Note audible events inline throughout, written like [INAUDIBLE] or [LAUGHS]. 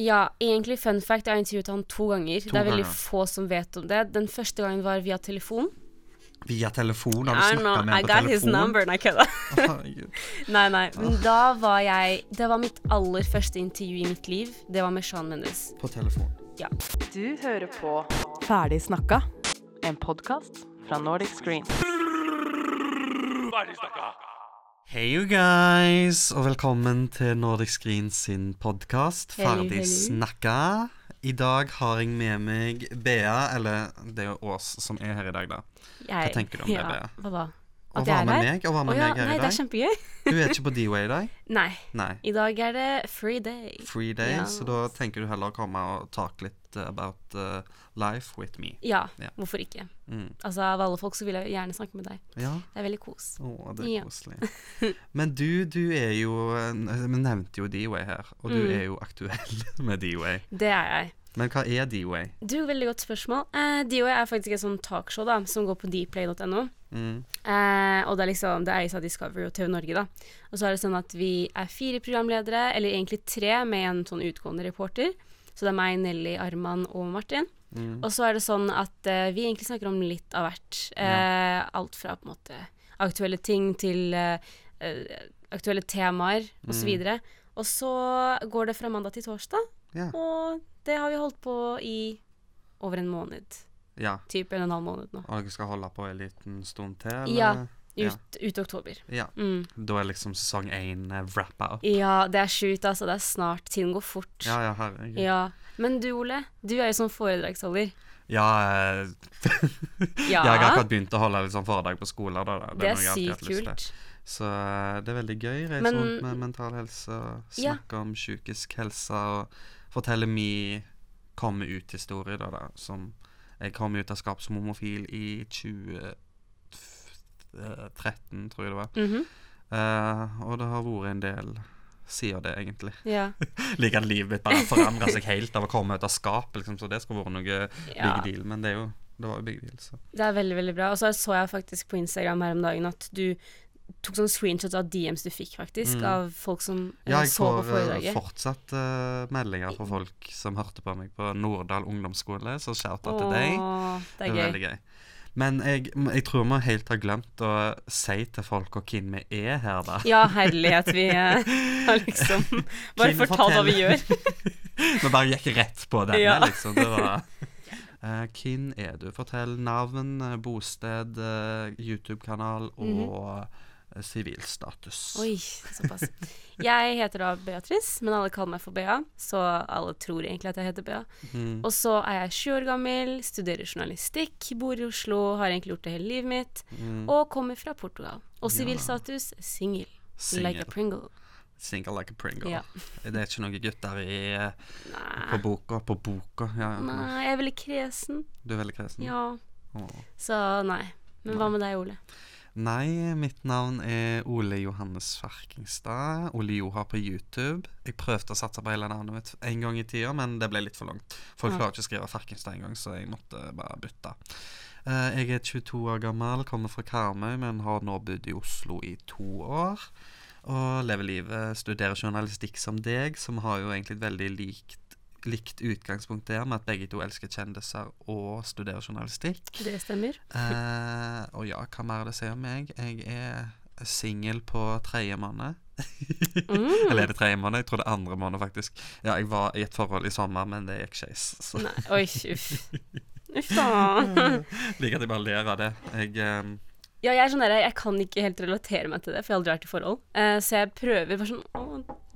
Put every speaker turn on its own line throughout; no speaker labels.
Ja, egentlig fun fact. Jeg har intervjuet han to ganger.
To
det er veldig
ganger.
få som vet om det. Den første gangen var via telefon.
Via telefon? Har du
I, don't know,
snakka med
I
ham
got
på
his
telefon?
number, nei kødda.
Herregud.
[LAUGHS] Nei, nei. Men da var jeg Det var mitt aller første intervju i mitt liv. Det var med Sean Mendes.
[LAUGHS] på telefon.
[LAUGHS]
Du hører på Ferdig snakka, en podkast fra Nordic Screen.
Hei you guys, og velkommen til Nordic Screen sin podkast
Hello,
Ferdig
hello.
snakka. I dag har jeg med meg Bea, eller det er jo Ås som er her i dag, da.
Jeg,
Hva tenker du om det,
ja,
Bea?
Hva da?
Og
At jeg
var
er
med
her?
meg, og var med
Å ja,
meg her
nei,
i
det
dag.
er kjempegøy. [LAUGHS]
Du er ikke på D-Way i dag?
Nei.
Nei.
I dag er det free day.
Free day,
Ja.
så da tenker du heller å komme og talk litt eh, about eh, life with me.
Ja,
Ja.
hvorfor ikke?
Mm.
Altså, Av alle folk så vil jeg gjerne snakke med deg.
Ja,
Det er veldig kos.
Å, det er
Ja. [LAUGHS]
koselig. Men du, du er jo eh, Vi nevnte jo D-Way her, og du
Mm.
er jo aktuell [LAUGHS] med D-Way.
Det er jeg.
Men hva er D-Way?
Du, Veldig godt spørsmål. Eh, DOA er faktisk et sånt talkshow da, som går på dplay.no.
Mm.
Eh, og det er liksom, det eies av Discovery og TV Norge, da. Og så er det sånn at vi er fire programledere, eller egentlig tre, med en sånn utgående reporter. Så det er meg, Nelly, Arman og Martin.
Mm.
Og så er det sånn at eh, vi egentlig snakker om litt av hvert. Eh, Alt fra på en måte aktuelle ting til eh, eh, aktuelle temaer
Mm.
osv. videre Og så går det fra mandag til torsdag,
Ja.
og det har vi holdt på i over en måned.
ja.
Typ en og en halv måned nå.
Og dere skal holde på en liten stund til?
Ja.
Eller? Ja.
Ut, ut oktober.
ja.
Mm.
Da er liksom sesong én eh, wrappa opp?
Ja, det er sjukt, altså. Det er snart. Tiden går fort.
Ja, ja, herregud. Ja,
Ja. Men du, Ole. Du er jo sånn foredragsholder.
eh, [LAUGHS]
Ja,
jeg har akkurat begynt å holde litt sånn foredrag på skoler. Da, da.
det er
noe jeg alltid har
sykt
hatt lyst til.
kult.
Så eh, det er veldig gøy. Reise
Men-
rundt med mental helse og
Ja.
snakke om psykisk helse og fortelle mi komme ut-historie, da, da. Som jeg kom ut av skap som homofil i 2013, tror jeg det var.
Mhm.
Eh, og det har vært en del sider det, egentlig.
Ja.
[LAUGHS] Like at livet mitt bare forandra seg helt av å komme ut av skap, liksom, så det skulle vært noe
ja.
big deal. Men det, er jo, det var jo big deal, så.
Det er veldig, veldig bra. Og så så jeg faktisk på Instagram her om dagen at du tok sånn screenshots av DMs du fikk, faktisk,
Mm.
av folk som eh,
Ja, jeg
så på
får eh,
foredraget.
fortsatt eh, meldinger fra folk som hørte på meg på Norddal ungdomsskole, så shout out til deg.
Åh, det
Det
er
var
gøy.
veldig gøy. Men jeg, jeg tror vi helt har glemt å si til folk og hvem vi er her, da.
Ja, herlighet. Vi eh, [LAUGHS] har liksom
[LAUGHS]
bare
Kim,
fortalt hva vi
fortell.
gjør.
Vi bare gikk rett på denne,
Ja.
liksom. Det
[LAUGHS]
var Eh, Hvem er du? Fortell navn, eh, bosted, eh, YouTube-kanal og eh, sivilstatus.
Mhm. Oi, såpass. Jeg heter da Beatrice, men alle kaller meg for Bea, så alle tror egentlig at jeg heter Bea.
Mm.
Og så er jeg 20 år gammel, studerer journalistikk, bor i Oslo, har egentlig gjort det hele livet mitt,
Mm.
og kommer fra Portugal. Og
Ja.
sivilstatus singel.
Single.
Like a Pringle.
Single like a pringle.
Ja.
Det er ikke noen gutter i, eh,
Nei.
på boka. På boka, ja. ja.
Nei, jeg er veldig kresen.
Du er veldig kresen.
Ja.
Åh.
Så nei. Men hva med deg, Ole?
Nei, mitt navn er Ole Johannes Farkingstad. Ole Joha på YouTube. Jeg prøvde å satse på hele navnet mitt en gang i tida, men det ble litt for langt. Folk
Ja.
klarer ikke å skrive Farkingstad engang, så jeg måtte bare bytte. Eh, Jeg er 22 år gammel, kommer fra Karmøy, men har nå bodd i Oslo i to år. Og lever livet, studerer journalistikk som deg, som har jo egentlig et veldig likt, likt utgangspunkt der, med at begge to elsker kjendiser og studerer journalistikk.
Det [LAUGHS] stemmer.
Eh, og ja, hva mer er det å si om meg? Jeg er singel på tredje måned.
Mm.
Eller er det tredje måned? Jeg tror det er andre måned, faktisk. Ja, jeg var i et forhold i sommer, men det gikk skeis. [LAUGHS] Så
Nei, oi, uff. Uff da.
liker at jeg bare ler av det. Jeg eh,
Ja, jeg er sånn der, jeg kan ikke helt relatere meg til det, for jeg har aldri vært i forhold. Eh, så jeg prøver bare sånn Å,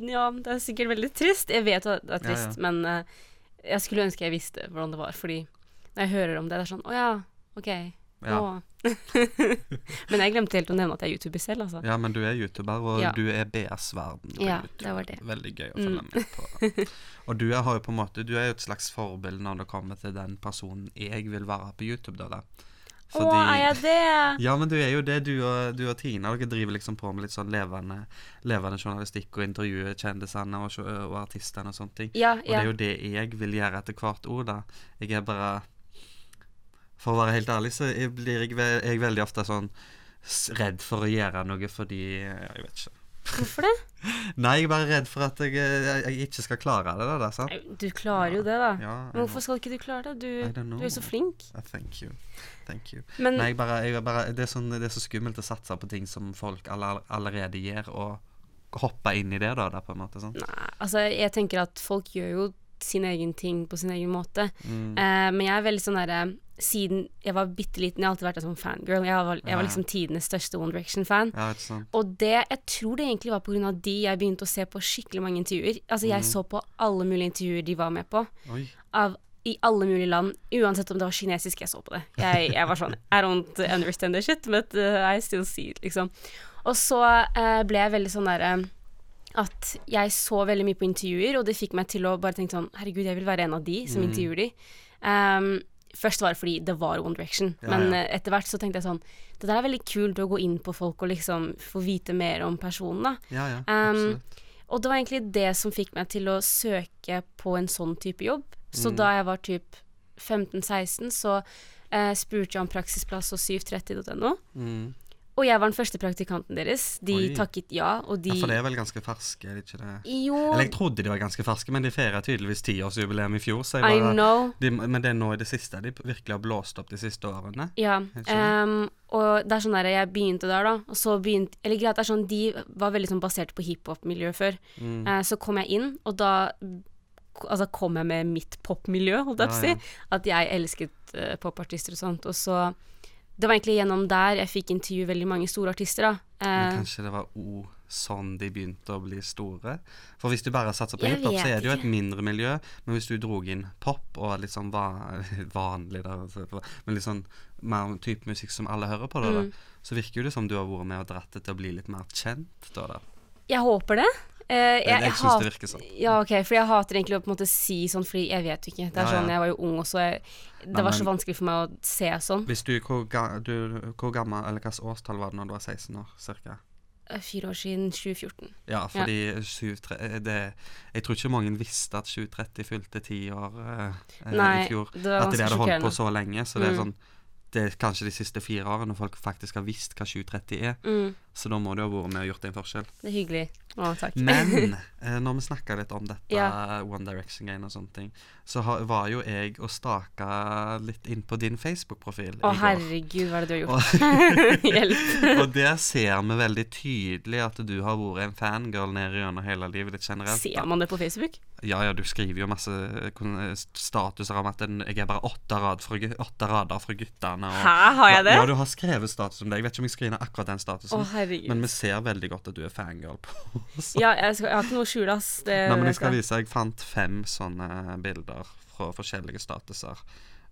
ja, det er sikkert veldig trist. Jeg vet at det er
Ja, ja.
trist, men eh, jeg skulle ønske jeg visste hvordan det var, fordi når jeg hører om det, det er sånn Å ja, OK.
ja.
Å. [LAUGHS] men jeg glemte helt å nevne at jeg er YouTuber selv, altså.
ja, men du er youtuber, og
Ja.
du er BS-verden. på
Ja, Mm.
YouTube.
det var det.
Veldig gøy å følge med på. Og du er, har jo på en måte Du er jo et slags forbilde når det kommer til den personen jeg vil være på YouTube, da. da.
Å, er jeg det?
Ja, men du er jo det, du og, du og Tina. Dere driver liksom på med litt sånn levende, levende journalistikk og intervjuer kjendisene og, sjø- og artistene og sånne ting.
Ja,
Og det
ja.
er jo det jeg vil gjøre etter hvert ord, da. Jeg er bare For å være helt ærlig, så jeg blir jeg, ve- jeg veldig ofte sånn s- redd for å gjøre noe fordi Jeg vet ikke.
Hvorfor det?
Nei, jeg er bare redd for at jeg, jeg, jeg ikke skal klare det. der, sant?
Nei, Du klarer jo det, da.
Ja, jeg
Men hvorfor skal ikke du klare det?
I
Du,
don't know.
du er så flink.
Ja, Thank you. Thank you.
Men
Nei, jeg bare, jeg er bare, det, er sånn, det er så skummelt å satse på ting som folk alle, allerede gjør, og hoppe inn i det, da, der, på en måte. Sånn.
Nei, altså jeg tenker at folk gjør jo sin egen ting på sin egen måte.
Mm.
Eh, men jeg er veldig sånn derre Siden jeg var bitte liten, jeg har alltid vært en sånn fangirl. Jeg var, jeg
Ja.
var liksom tidenes største One Direction-fan.
Ja, sånn. ikke sant?
Og det, jeg tror det egentlig var pga. de jeg begynte å se på skikkelig mange intervjuer. Altså
Mm.
Jeg så på alle mulige intervjuer de var med på,
Oi.
av, i alle mulige land. Uansett om det var kinesisk, jeg så på det. Jeg, jeg var sånn I don't understand this shit, but uh, I still see it, liksom. Og så eh, ble jeg veldig sånn derre at jeg så veldig mye på intervjuer, og det fikk meg til å bare tenke sånn Herregud, jeg vil være en av de
Mm.
som intervjuer de. Ehm, først var det fordi det var One Direction,
Ja,
men
ja.
eh, etter hvert så tenkte jeg sånn Det der er veldig kult å gå inn på folk og liksom få vite mer om personen, da.
Ja, ja.
Um,
absolutt.
og det var egentlig det som fikk meg til å søke på en sånn type jobb. Så
Mm.
da jeg var typ 15-16, så eh, spurte jeg om praksisplass hos 730.no.
Mm.
Og jeg var den første praktikanten deres. De
Oi.
takket ja, og de
Ja, for det er vel ganske ferske, er det ikke det?
Jo,
Eller jeg trodde de var ganske ferske, men de feira tydeligvis tiårsjubileum i fjor. Så jeg
I
bare,
know.
de, men det er nå i det siste de virkelig har blåst opp de siste årene.
Ja.
Jeg skjønner.
ehm, og det er sånn der, jeg begynte der, da. Og så begynte Eller greit, det er sånn, de var veldig sånn basert på hiphop-miljøet før.
Mm.
Eh, så kom jeg inn, og da altså, kom jeg med mitt popmiljø, holdt jeg på å
Ja,
si. At jeg elsket eh, popartister og sånt. Og så Det var egentlig gjennom der jeg fikk intervjue veldig mange store artister, da.
Men
Eh,
kanskje det var òg sånn de begynte å bli store? For hvis du bare satser på
Jeg
hiphop, så
vet
er det jo et
ikke.
mindre miljø. Men hvis du drog inn pop og litt sånn va [LAUGHS] vanlig da, altså, Men litt sånn mer type musikk som alle hører på, da,
Mm.
da, så virker jo det som du har vært med og dratt det til å bli litt mer kjent, da. da.
jeg håper det. Eh, jeg
Jeg, jeg syns
hat-
det virker sånn.
Ja, ok, for jeg hater egentlig å på en måte si sånn, fordi jeg vet jo ikke. Det er
Ja, ja.
sånn, Jeg var jo ung, og så jeg, Det
Nei,
var så
men-
vanskelig for meg å se sånn.
Hvis du, hvor, ga, du, hvor gammel, eller hvilket årstall var det når du var 16 år, cirka?
Eh, Fire år siden 2014.
Ja, fordi 7.30 det, Jeg tror ikke mange visste at 7.30 fylte ti år eh, eh,
Nei,
i fjor.
det var
at de
ganske
hadde holdt
sjokkerende.
på så lenge. Så det er
Mm.
sånn Det er kanskje de siste fire årene folk faktisk har visst hva 730 er,
Mm,
så da må du ha vært med og gjort
[LAUGHS]
en forskjell.
det er hyggelig. Å, takk.
Men eh, når vi snakka litt om dette
Ja.
One Direction-greiene og sånne ting, så har, var jo jeg og staka litt inn på din Facebook-profil
Å,
i går.
herregud, hva er det du
Og,
har gjort? [LAUGHS] Hjelp.
og der ser vi veldig tydelig at du har vært en fangirl ned gjennom hele livet ditt generelt. da.
Ser man det på Facebook?
Ja, ja, du skriver jo masse eh, kon- eh, statuser om at en- jeg er bare åtte, rad fra gu- åtte rader fra guttene. Og,
Hæ, har jeg det?
Ja, du har skrevet status om det. Jeg vet ikke om jeg screener akkurat den
Å,
statusen.
herregud.
men vi ser veldig godt at du er fangirl på oss.
ja, jeg, skal, jeg har ikke noe å skjule, ass. Det,
Nei, men jeg skal
vet
vise Jeg fant fem sånne bilder fra forskjellige statuser.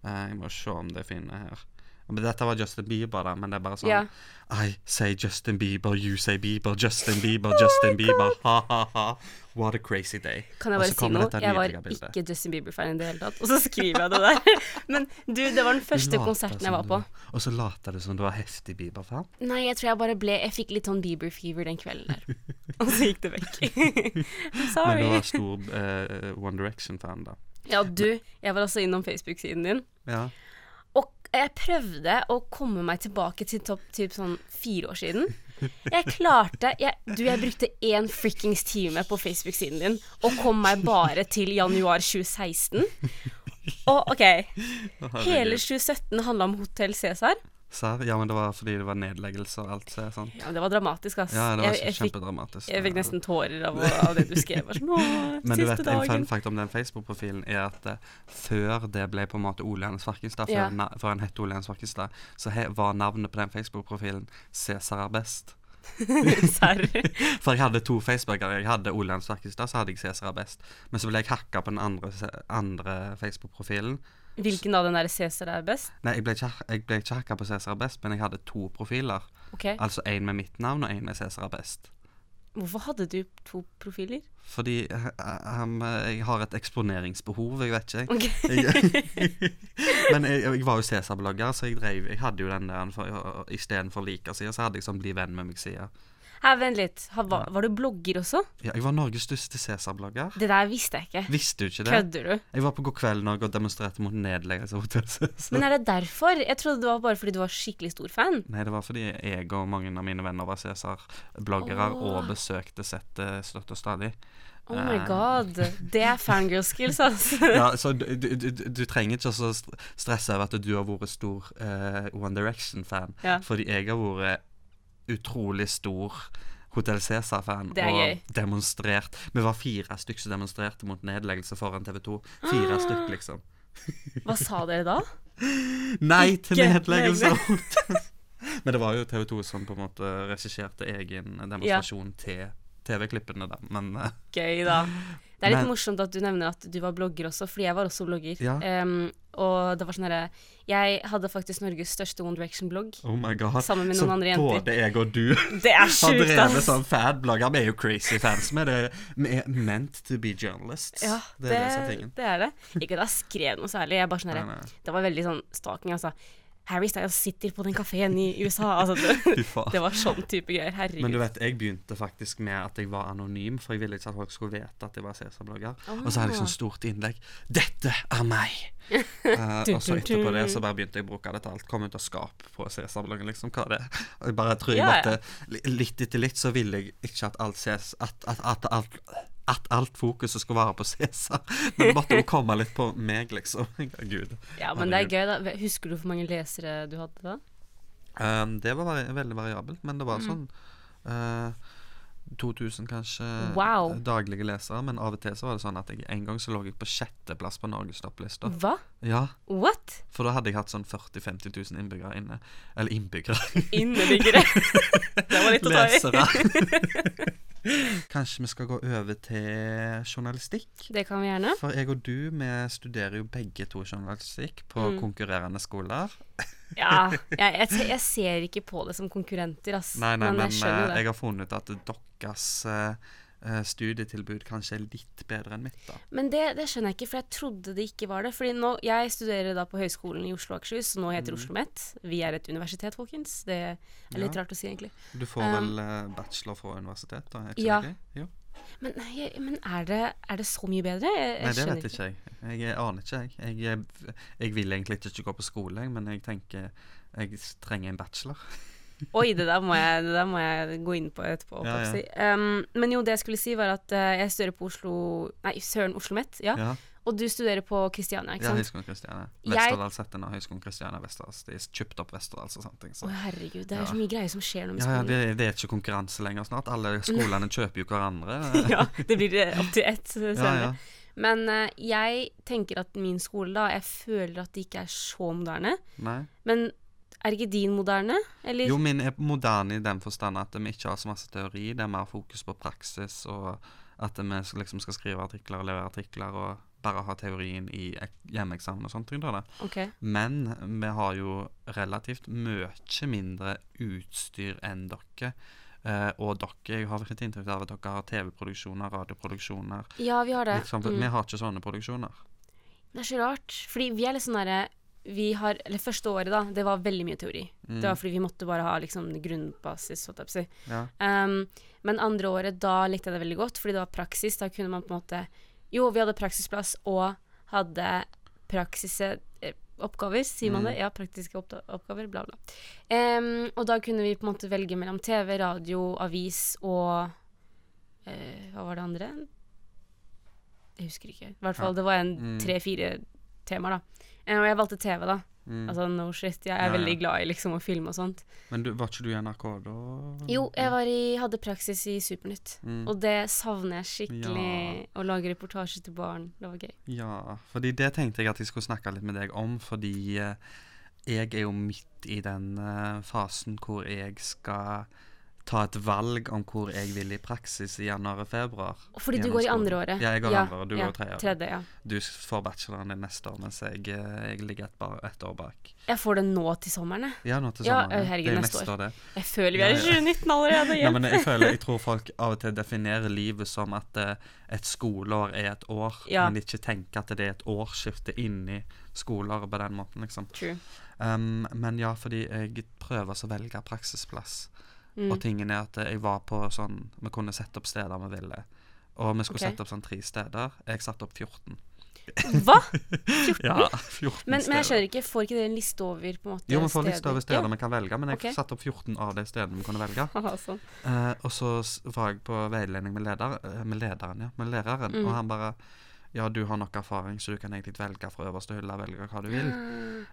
Eh, jeg må se om det finner her. Men dette var Justin Bieber, da, men det er bare sånn
Ja.
I say Justin Bieber, you say Bieber, Justin Bieber,
[LAUGHS]
Justin Bieber. Ha, ha, ha. What a crazy day.
Oh Kan jeg
Og
bare
så
si
kommer
noe?
dette
Jeg var
nydelige bildet.
ikke Justin Bieber-fan i det hele tatt, og så skriver jeg det der. [LAUGHS] Men du, det var den første
Later
konserten
som
jeg var
du
på.
Og så later du som du var heftig Bieber-fan.
Nei, jeg tror jeg bare ble Jeg fikk litt sånn Bieber-fever den kvelden [LAUGHS] der. Og så gikk det vekk. I'm
Men du
[LAUGHS] Sorry.
var stor eh, One Direction-fan, da.
Ja, du, jeg var også innom Facebook-siden din.
Ja.
Og jeg prøvde å komme meg tilbake til topp typ sånn fire år siden. Jeg klarte jeg, Du, jeg brukte én frikkings time på Facebook-siden din og kom meg bare til januar 2016. Og OK, hele 2017 handla om Hotell Cæsar.
Serr? Ja, men det var fordi det var nedleggelser og alt så- sånn.
Ja, men det var dramatisk, ass.
Ja, det var
jeg, jeg, fikk,
kjempedramatisk.
jeg fikk nesten tårer av, å- av det du skrev. Jeg var Sånn, «Åh,
[LAUGHS] men
siste
du vet, en fun
dagen.
fact om den Facebook-profilen er at eh, før det ble på en måte Ole Hennes Farkenstad, før,
Ja.
na- før han het Ole Hennes Farkenstad, så he var navnet på den Facebook-profilen 'Cæsar er best'.
Serr.
For jeg hadde to Facebooker. Jeg hadde Ole Hennes Farkenstad, så hadde jeg 'Cæsar er best'. Men så ble jeg hacka på den andre, se- andre Facebook-profilen,
Hvilken av den der Cæsar er best?
Nei, jeg ble ikke, jeg ble ikke hacka på Cæsar er best, men jeg hadde to profiler.
Ok,
Altså én med mitt navn og én med Cæsar er best.
Hvorfor hadde du to profiler?
Fordi eh, eh, um, eh, jeg har et eksponeringsbehov, jeg vet ikke.
Ok.
Jeg,
[LAUGHS]
men jeg, jeg var jo Cæsar-blogger, så jeg, drev, jeg hadde jo den der for- istedenfor liker-sida, så hadde jeg sånn bli venn med meg-sida.
Her, vent litt. Ha, var, var du blogger også?
Ja, jeg var Norges største Cæsar-blogger.
Det der visste jeg ikke.
Visste du ikke det?
Kødder du?
Jeg var på God kveld Norge og demonstrerte mot nedleggelse av Hotell Cæsar.
Men er det derfor? Jeg trodde det var bare fordi du var skikkelig stor fan.
Nei, det var fordi jeg og mange av mine venner var Cæsar-bloggere
Åh.
og besøkte settet støtt og stadig.
Oh my
Eh.
god. Det er fangirl skills,
[LAUGHS]
altså. [LAUGHS]
Ja, så du, du, du, du trenger ikke å så st- stresse over at du har vært stor eh, One Direction-fan,
Ja.
fordi jeg har vært utrolig stor Hotell Cæsar-fan
Det er
og
gøy.
demonstrert. Vi var fire stykk som demonstrerte mot nedleggelse foran TV 2.
Ah,
Fire stykk, liksom.
Hva sa dere da?
Nei til
Ikke
nedleggelse! av hotell. [LAUGHS] Men det var jo TV 2 som på en måte regisserte egen demonstrasjon til TV-klippene, da. Men eh,
Gøy, da. Det er litt
Men-
morsomt at du nevner at du var blogger også, fordi jeg var også blogger.
Ja.
Em, og det var sånn herre Jeg hadde faktisk Norges største One Direction-blogg.
oh my god.
Sammen med
så
noen andre jenter.
både jeg og du
Det er
har
sjukt,
drevet
ass!
sånn fadblogger. Vi er jo crazy fans. Vi er, det- vi er meant to be journalists.
Ja,
det, er det som er tingen.
det er det. Ikke at jeg skrev noe særlig. Jeg bare sånn
Nei,
herre
nei.
Det var veldig sånn stalking, altså. Harry Styles sitter på den kafeen i USA. Altså, det,
[LAUGHS] Fy faen.
det var sånn type greier. Herregud.
Men du vet, jeg begynte faktisk med at jeg var anonym, for jeg ville ikke at folk skulle vite at jeg var Cæsar-blogger. Og så hadde jeg sånn stort innlegg 'Dette er meg!'
[LAUGHS]
Eh, og så etterpå det så bare begynte jeg å bruke det til alt. Kom ut av skap på Cæsar-bloggen, liksom. Hva det er. Og Jeg bare tror jeg
Ja, ja.
måtte li- Litt etter litt så ville jeg ikke at alt ses At, at, at, alt at alt fokuset skulle være på Cæsar. Men det måtte jo komme litt på meg, liksom. [LAUGHS] Gud.
ja, men det er
Herregud.
gøy, da. Husker du hvor mange lesere du hadde da?
Um, det var vari veldig variabelt, men det var sånn eh, 2000 kanskje eh,
Wow.
daglige lesere, men av og til så var det sånn at jeg en gang så lå jeg på sjetteplass på Norges topplista.
Hva?
Ja,
What?
for da hadde jeg hatt sånn 40 000-50 000 innbyggere inne. Eller
[LAUGHS]
innbyggere. [LAUGHS]
Inneliggere. det var litt å ta i.
Lesere. Kanskje vi skal gå over til journalistikk?
Det kan vi gjerne.
For jeg og du, vi studerer jo begge to journalistikk på konkurrerende skoler.
Ja, jeg, jeg, se- jeg ser ikke på det som konkurrenter, ass.
Nei, nei, men,
men jeg skjønner
eh,
jo det.
jeg har funnet ut at deres eh, eh, studietilbud kanskje er litt bedre enn mitt, da.
Men det, det skjønner jeg ikke, for jeg trodde det ikke var det. Fordi nå, jeg studerer da på Høgskolen i Oslo og Akershus, som nå heter Oslo OsloMet. Vi er et universitet, folkens. Det er litt
Mm. Ja.
rart å si, egentlig.
Du får vel eh, bachelor fra universitet, da? Er ikke
Um, ja.
det gøy? Jo.
Men, nei, jeg- men er, det, er det så mye bedre? Jeg, jeg
Nei, det
skjønner
vet ikke jeg. Jeg aner ikke, jeg. Jeg, jeg vil egentlig ikke gå på skole, jeg, men jeg tenker jeg trenger en bachelor.
Oi, det der må jeg, det der må jeg gå inn på etterpå.
Ja,
holdt jeg på å
ja.
si. Um, men jo, det jeg skulle si, var at eh, jeg studerer på Oslo Nei, søren, Oslo Met. Ja.
Ja,
Og du studerer på Kristiania, ikke
ja
sant?
Høgskolen Kristiania.
Jeg-
Westerdals heter nå Høgskolen Kristiania Westerdals. De har kjøpt opp Westerdals og sånne ting.
Å,
Så.
herregud, det er
Ja.
så mye greier som skjer nå med
Ja, ja,
skolen.
det, det er ikke konkurranse lenger snart.
[LAUGHS]
Alle skolene kjøper jo hverandre.
ja, det blir eh, opp til ett eh,
Ja,
senere.
ja.
Men eh, jeg tenker at min skole, da Jeg føler at de ikke er så moderne.
Nei.
Men er ikke din moderne? Eller?
Jo, min er moderne i den forstand at vi ikke har så masse teori, det er mer fokus på praksis, og at vi s- liksom skal skrive artikler og levere artikler, og bare ha teorien i ek- hjemmeeksamen og sånt. ting da, da.
Ok.
Men vi har jo relativt mye mindre utstyr enn dere. Eh, og dere, jeg har litt inntrykk av at dere har TV-produksjoner, radioproduksjoner
Ja, vi har det. Mm.
litt sånn, for Vi har ikke sånne produksjoner.
Det er så rart. Fordi vi er litt sånn derre vi har, eller Første året, da, det var veldig mye teori. Det var fordi vi måtte bare ha liksom, grunnbasis. holdt jeg på å si.
Ja.
Um, men andre året, da likte jeg det veldig godt, fordi det var praksis. Da kunne man på en måte Jo, vi hadde praksisplass og hadde praksise eh, oppgaver, sier man
Mm.
det? Ja, praktiske oppda- oppgaver, bla, bla. Um, og da kunne vi på en måte velge mellom TV, radio, avis og eh, Hva var det andre? Jeg husker ikke. I hvert fall, det var
Mm.
en tre-fire temaer, da. Eh, og jeg valgte TV, da. Altså no shit. Jeg er
Ja, ja.
veldig glad i liksom å filme og sånt.
mm. Men du, var ikke du i NRK da?
Jo, jeg var i, hadde praksis i Supernytt,
Mm.
og det savner jeg skikkelig. Å lage reportasje til barn. Det var gøy.
Ja, fordi det tenkte jeg at jeg skulle snakke litt med deg om, fordi eh, jeg er jo midt i den eh, fasen hvor jeg skal ta et valg om hvor jeg vil i praksis i januar og februar.
Og fordi du går i andre året.
Ja, jeg går andre året, du går tredje året.
tredje. Ja.
Du s- får bacheloren din neste år, mens jeg, eh, jeg ligger et, bar, et år bak.
Jeg får det nå til sommeren, jeg.
Ja, nå til
Ja, eh,
sommeren.
herregud,
det er jo
neste
neste
år.
år, det.
Jeg føler vi er i
Ja, ja.
2019 allerede.
Ja,
hjelp.
men eh, jeg føler, jeg tror folk av og til definerer livet som at eh, et skoleår er et år,
Ja.
men ikke tenker at det er et årsskifte inni skoleåret på den måten, liksom.
True.
Um, men ja, fordi jeg prøver så å velge praksisplass.
Mm.
Og tingen er at jeg var på sånn Vi kunne sette opp steder vi ville. Og vi skulle
Ok.
sette opp sånn tre steder. Jeg satte opp 14.
Hva?
Ja, [LAUGHS] 14
Men, men jeg
steder.
skjønner ikke, får ikke dere en liste over på en måte
Jo, vi får liste over steder vi kan velge, men jeg
Ok.
satte opp 14 av de stedene vi kunne
[LAUGHS]
velge.
Ja. Haha, sånn.
Eh, og så s- var jeg på veiledning med, leder, eh, med lederen, ja, med læreren, og han bare Ja, du har nok erfaring, så du kan egentlig velge fra øverste hylle, velge hva du vil.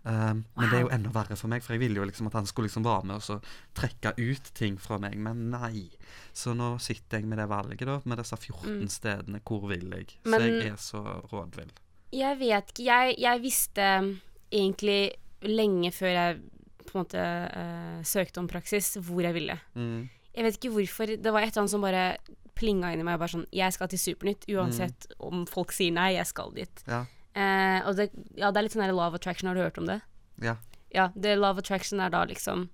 Eh, Men det er jo enda verre for meg, for jeg ville jo liksom at han skulle liksom være med og så trekke ut ting fra meg, men nei. Så nå sitter jeg med det valget, da, med disse 14 stedene. Hvor vil jeg? Så
Men-
jeg er så rådvill.
Jeg vet ikke. Jeg, jeg visste um, egentlig lenge før jeg på en måte eh, søkte om praksis, hvor jeg ville.
Mm.
Jeg vet ikke hvorfor. Det var et eller annet som bare plinga inni meg. Bare sånn Jeg skal til Supernytt, uansett om folk sier nei, jeg skal dit.
Ja.
Eh, og det, ja, det er litt sånn der love attraction. Har du hørt om det?
ja.
Ja, det love attraction er da liksom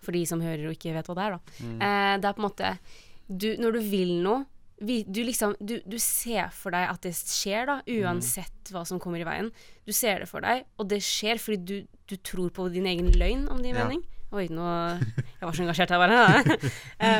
For de som hører og ikke vet hva det er, da. Eh, det er på en måte du, Når du vil noe vi, du, liksom, du, du ser for deg at det skjer, da, uansett hva som kommer i veien. Du ser det for deg, og det skjer fordi du, du tror på din egen løgn, om det gir
Ja.
mening. Oi, nå Jeg var så engasjert her, bare. [LAUGHS]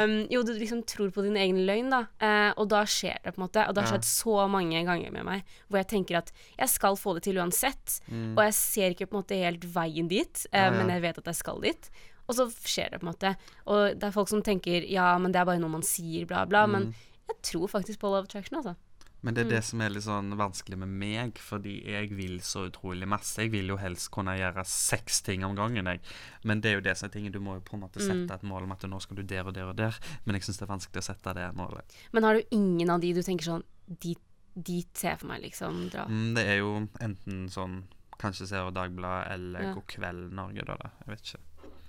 um, jo, du liksom tror på din egen løgn, da, eh, og da skjer det, på en måte. Og det har
Ja.
skjedd så mange ganger med meg hvor jeg tenker at jeg skal få det til uansett, og jeg ser ikke på en måte helt veien dit, eh,
Mm. Ja, ja.
men jeg vet at jeg skal dit. Og så skjer det, på en måte. Og det er folk som tenker ja, men det er bare noe man sier, bla, bla. Men
Mm.
jeg tror faktisk på love attraction, altså.
Men det er det som er litt sånn vanskelig med meg, fordi jeg vil så utrolig masse. Jeg vil jo helst kunne gjøre seks ting om gangen, jeg. Men det er jo det som er tingen. Du må jo på en måte sette et mål om at nå skal du der og der og der, men jeg syns det er vanskelig å sette det målet.
Men har du ingen av de du tenker sånn Dit, dit ser jeg for meg, liksom, dra.
Mm, det er jo enten sånn Kanskje ser Dagbladet eller
Ja.
God kveld Norge, da. da. Jeg vet ikke.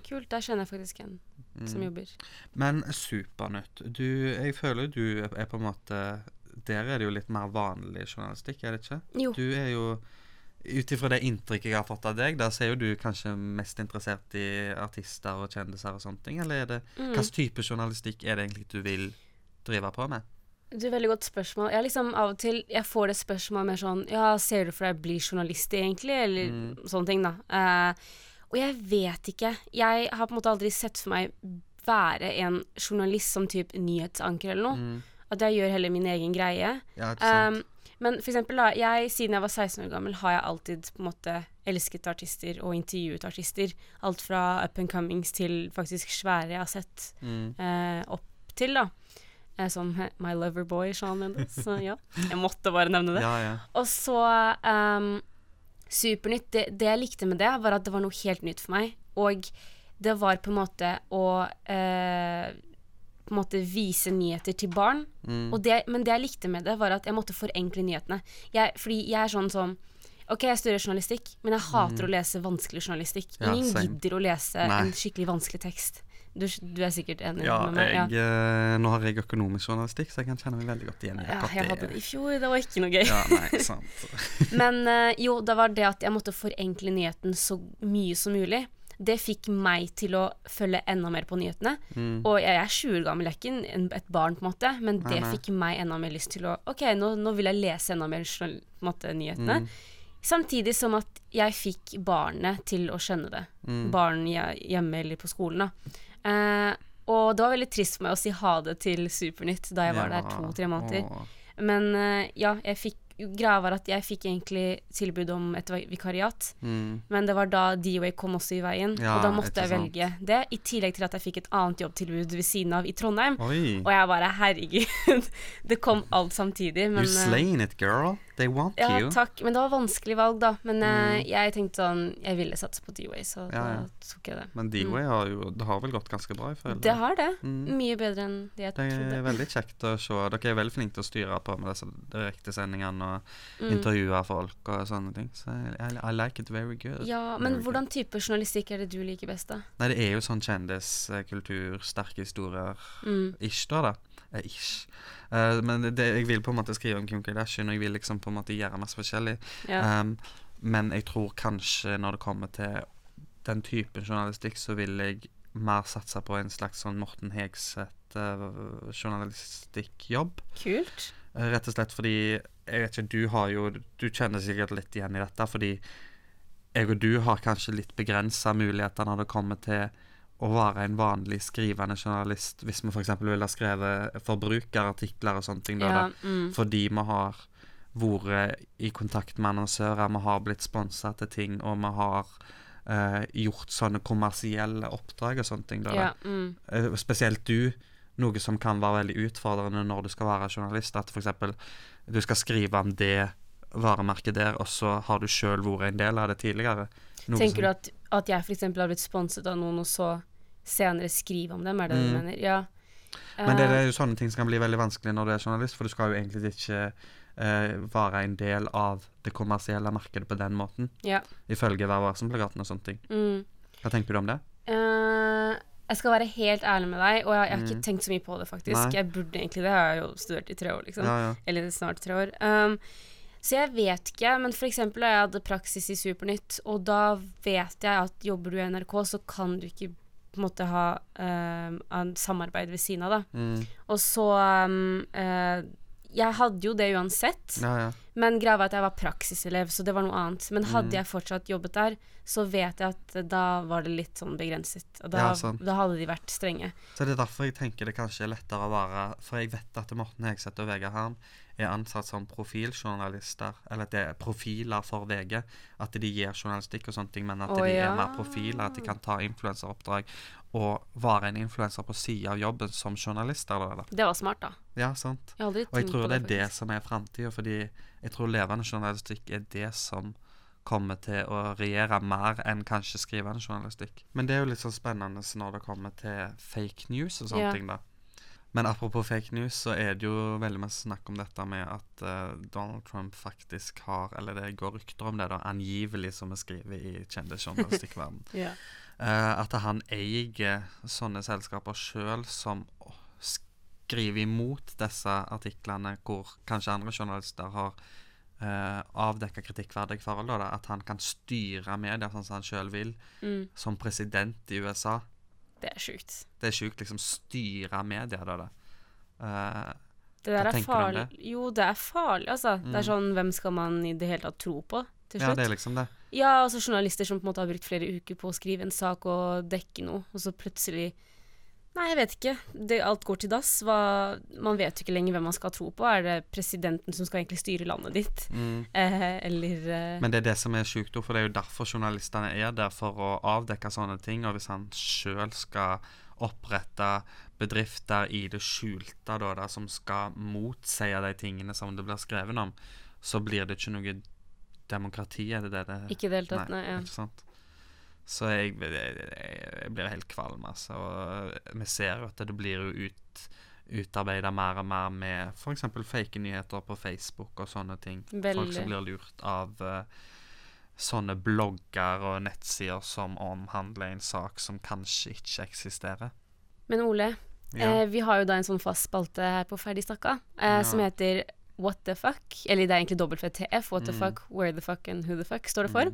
Kult, der kjenner jeg faktisk en som
Mm.
jobber.
Men Supernytt. Du, jeg føler du er på en måte Der er det jo litt mer vanlig journalistikk, er det ikke?
Jo.
Du er jo Ut ifra det inntrykket jeg har fått av deg, da så er jo du kanskje mest interessert i artister og kjendiser og sånne ting, eller er det
Mm.
Hva slags type journalistikk er det egentlig du vil drive på med?
Du, Veldig godt spørsmål. Jeg liksom av og til jeg får det spørsmålet mer sånn Ja, ser du for deg å bli journalist, egentlig? Eller sånne ting, da. Eh, og jeg vet ikke. Jeg har på en måte aldri sett for meg være en journalist som typ nyhetsanker eller
Mm.
noe. At jeg gjør heller min egen greie.
Ja, ikke sant?
Um, men for eksempel da, jeg, siden jeg var 16 år gammel, har jeg alltid på en måte elsket artister og intervjuet artister. Alt fra up and comings til faktisk svære jeg har sett eh, opp til, da. Eh, som [LAUGHS] eh, My Lover Boy, Sean Mendes. Så ja, [LAUGHS] jeg måtte bare nevne det.
ja, ja.
Og så ehm, Supernytt, det, det jeg likte med det, var at det var noe helt nytt for meg. Og det var på en måte å eh, på en måte vise nyheter til barn.
Mm.
Og det, men det jeg likte med det, var at jeg måtte forenkle nyhetene. Jeg, fordi jeg er sånn som Ok, jeg studerer journalistikk, men jeg hater å lese vanskelig journalistikk.
Mm. Ja,
Ingen
same.
gidder å lese
Nei.
en skikkelig vanskelig tekst. Du, du er sikkert enig
Ja,
med meg?
jeg, eh, nå har jeg økonomisk journalistikk, så jeg kan kjenne meg veldig godt igjen i
ja,
akkurat
jeg hadde det i fjor. Det var ikke noe gøy.
Ja, nei, sant.
Men eh, jo, det var det at jeg måtte forenkle nyheten så mye som mulig. Det fikk meg til å følge enda mer på nyhetene. Og jeg er 20 år gammel, jeg er ikke en- en- et barn, på en måte, men det
Mm. nei.
fikk meg enda mer lyst til å Ok, nå, nå vil jeg lese enda mer journal- på en måte, nyhetene.
Mm.
Samtidig som at jeg fikk barnet til å skjønne det.
Mm.
Barn hje- hjemme eller på skolen, da. Eh, og det var veldig trist for meg å si ha det til Supernytt da [LAUGHS] jeg var der
Ja,
to-tre måneder.
åh.
Men eh, ja, jeg fikk Greia var at jeg fikk egentlig tilbud om et vi- vikariat,
Mm.
men det var da DOA kom også i veien,
Ja,
og da måtte
ikke
jeg
sant.
velge det. I tillegg til at jeg fikk et annet jobbtilbud ved siden av i Trondheim.
Oi.
Og jeg bare herregud, [LAUGHS] det kom alt samtidig. Men,
You slain it, girl. They want
eh,
you.
ja, takk. Men det var vanskelig valg, da. Men eh, jeg tenkte sånn Jeg ville satse på DOA, så
Mm. Ja, ja.
da tok jeg det.
Men D-Way har jo Det har vel gått ganske bra, jeg føler.
Mm. Det har det.
Mm.
Mye bedre enn det jeg
Det
trodde.
er veldig kjekt å se. Dere er veldig flinke til å styre på med disse direktesendingene og
Mm.
intervjue folk og sånne ting. Så I, I like it very good.
Ja,
Very
men
good.
hvordan type journalistikk er det du liker best, da?
Nei, det er jo sånn kjendiskultur, sterke historier
Mm.
Ish, da. da. Eh, ish. Eh, men det, jeg vil på en måte skrive om Kim Kardashian, og jeg vil liksom på en måte gjøre masse forskjellig.
Ja.
Um, men jeg tror kanskje når det kommer til den typen journalistikk, så vil jeg mer satse på en slags sånn Morten eh, Hegseth-journalistikkjobb.
Kult.
Eh, Rett og slett fordi Jeg vet ikke, du har jo Du kjenner sikkert litt igjen i dette, fordi jeg og du har kanskje litt begrensa muligheter når det kommer til å være en vanlig skrivende journalist hvis vi f.eks. ville ha skrevet forbrukerartikler og sånne ting. Da,
Ja,
da.
mm.
Fordi vi har vært i kontakt med annonsører, vi har blitt sponsa til ting, og vi har eh, gjort sånne kommersielle oppdrag og sånne ting. Da, da.
ja, mm.
Eh, spesielt du, noe som kan være veldig utfordrende når du skal være journalist, at f.eks. du skal skrive om det varemerket der, og så har du sjøl vært en del av det tidligere. Noe
Tenker du
som,
at, at jeg f.eks. har blitt sponset av noen, og så senere skrive om dem? Er det det du mener? Ja.
Mm. men det, det
Eh,
er jo sånne ting som kan bli veldig vanskelig når du er journalist, for du skal jo egentlig ikke eh, være en del av det kommersielle markedet på den måten,
ja.
ifølge Vær varsom-plakaten og sånne ting.
Mm.
Hva tenker du om det?
Eh, jeg skal være helt ærlig med deg, og jeg, jeg har ikke tenkt så mye på det, faktisk.
Mm. Nei.
Jeg burde egentlig det, jeg har jo studert i tre år, liksom.
Ja, ja.
Eller snart tre år. Um, så jeg vet ikke, men f.eks. da jeg hadde praksis i Supernytt, og da vet jeg at jobber du i NRK, så kan du ikke på en måte ha um, en samarbeid ved siden av, da.
Mm.
Og så um, eh, Jeg hadde jo det uansett.
Ja, ja.
Men greia var at jeg var praksiselev, så det var noe annet. Men hadde
Mm.
jeg fortsatt jobbet der, så vet jeg at da var det litt sånn begrenset. Og da,
Ja, sant.
da hadde de vært strenge.
Så det er derfor jeg tenker det kanskje er lettere å være For jeg vet at Morten Hegseth og Vegard Harm er ansatt som profiljournalister, eller at det er profiler for VG. At de gir journalistikk og sånne ting, men at
Å,
de
ja.
er mer profiler. At de kan ta influenseroppdrag og være en influenser på sida av jobben som journalister. da, Eller?
Det var smart, da.
Ja, sant?
Jeg har aldri
Og jeg
tenkt
tror
på
det
det.
er det
faktisk.
som er framtida, fordi jeg tror levende journalistikk er det som kommer til å regjere mer enn kanskje skrivende journalistikk. Men det er jo litt sånn spennende når det kommer til fake news og sånne
Ja.
ting, da. Men apropos fake news, så er det jo veldig mye snakk om dette med at eh, Donald Trump faktisk har, eller det går rykter om det, da, angivelig, som vi skriver i kjendisjournalistikkverden,
[LAUGHS] Ja.
Eh, at han eier sånne selskaper sjøl som skriver imot disse artiklene hvor kanskje andre journalister har uh, avdekka kritikkverdige forhold. Da, da, at han kan styre media sånn som han sjøl vil,
Mm,
som president i USA.
det er sjukt.
Det er sjukt, liksom. Styre media, da. da. Eh,
Det der
Hva
er
tenker du om Mm.
farlig. Jo, det er farlig, altså. Det er sånn, hvem skal man i det hele tatt tro på til
ja,
slutt?
det er liksom det.
Ja, altså journalister som på en måte har brukt flere uker på å skrive en sak og dekke noe, og så plutselig Nei, jeg vet ikke. Det, alt går til dass. Hva, man vet jo ikke lenger hvem man skal tro på. Er det presidenten som skal egentlig styre landet ditt?
Mm.
Eh, eller eh,
Men det er det som er sjukt, for det er jo derfor journalistene er der, for å avdekke sånne ting. Og hvis han sjøl skal opprette bedrifter i det skjulte, da, da, som skal motsi de tingene som det blir skrevet om, så blir det ikke noe demokrati. Er det det det
Ikke i det hele tatt, nei. ja.
Ikke sant? Så jeg, jeg, jeg blir helt kvalm, altså. Og vi ser jo at det blir jo ut utarbeida mer og mer med f.eks. fake nyheter på Facebook og sånne ting. Folk
Veldig.
som blir lurt av eh, sånne blogger og nettsider som omhandler en sak som kanskje ikke eksisterer.
Men Ole,
Ja.
eh, vi har jo da en sånn fast spalte her på Ferdig snakka, eh,
Ja.
som heter What the fuck? Eller det er egentlig WTF. What the
Mm.
fuck, where the fuck and who the fuck, står det for.